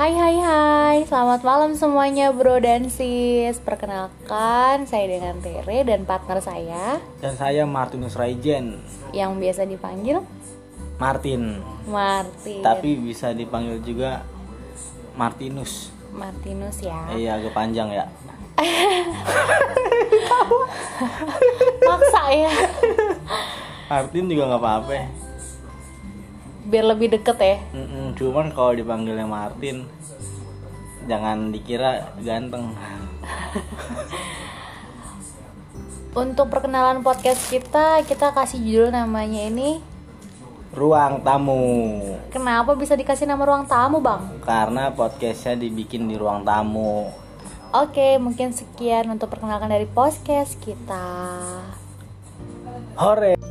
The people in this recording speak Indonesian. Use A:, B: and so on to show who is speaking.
A: Hai hai hai, selamat malam semuanya bro dan sis Perkenalkan, saya dengan Tere dan partner saya
B: Dan saya Martinus Raijen
A: Yang biasa dipanggil
B: Martin
A: Martin
B: Tapi bisa dipanggil juga Martinus
A: Martinus ya
B: Iya agak panjang ya
A: Maksa ya,
B: Martin juga nggak apa-apa
A: biar lebih deket ya
B: Mm-mm, Cuman kalau dipanggilnya Martin Jangan dikira ganteng
A: Untuk perkenalan podcast kita, kita kasih judul namanya ini
B: Ruang tamu
A: Kenapa bisa dikasih nama ruang tamu bang?
B: Karena podcastnya dibikin di ruang tamu
A: Oke, mungkin sekian untuk perkenalkan dari podcast kita
B: Hore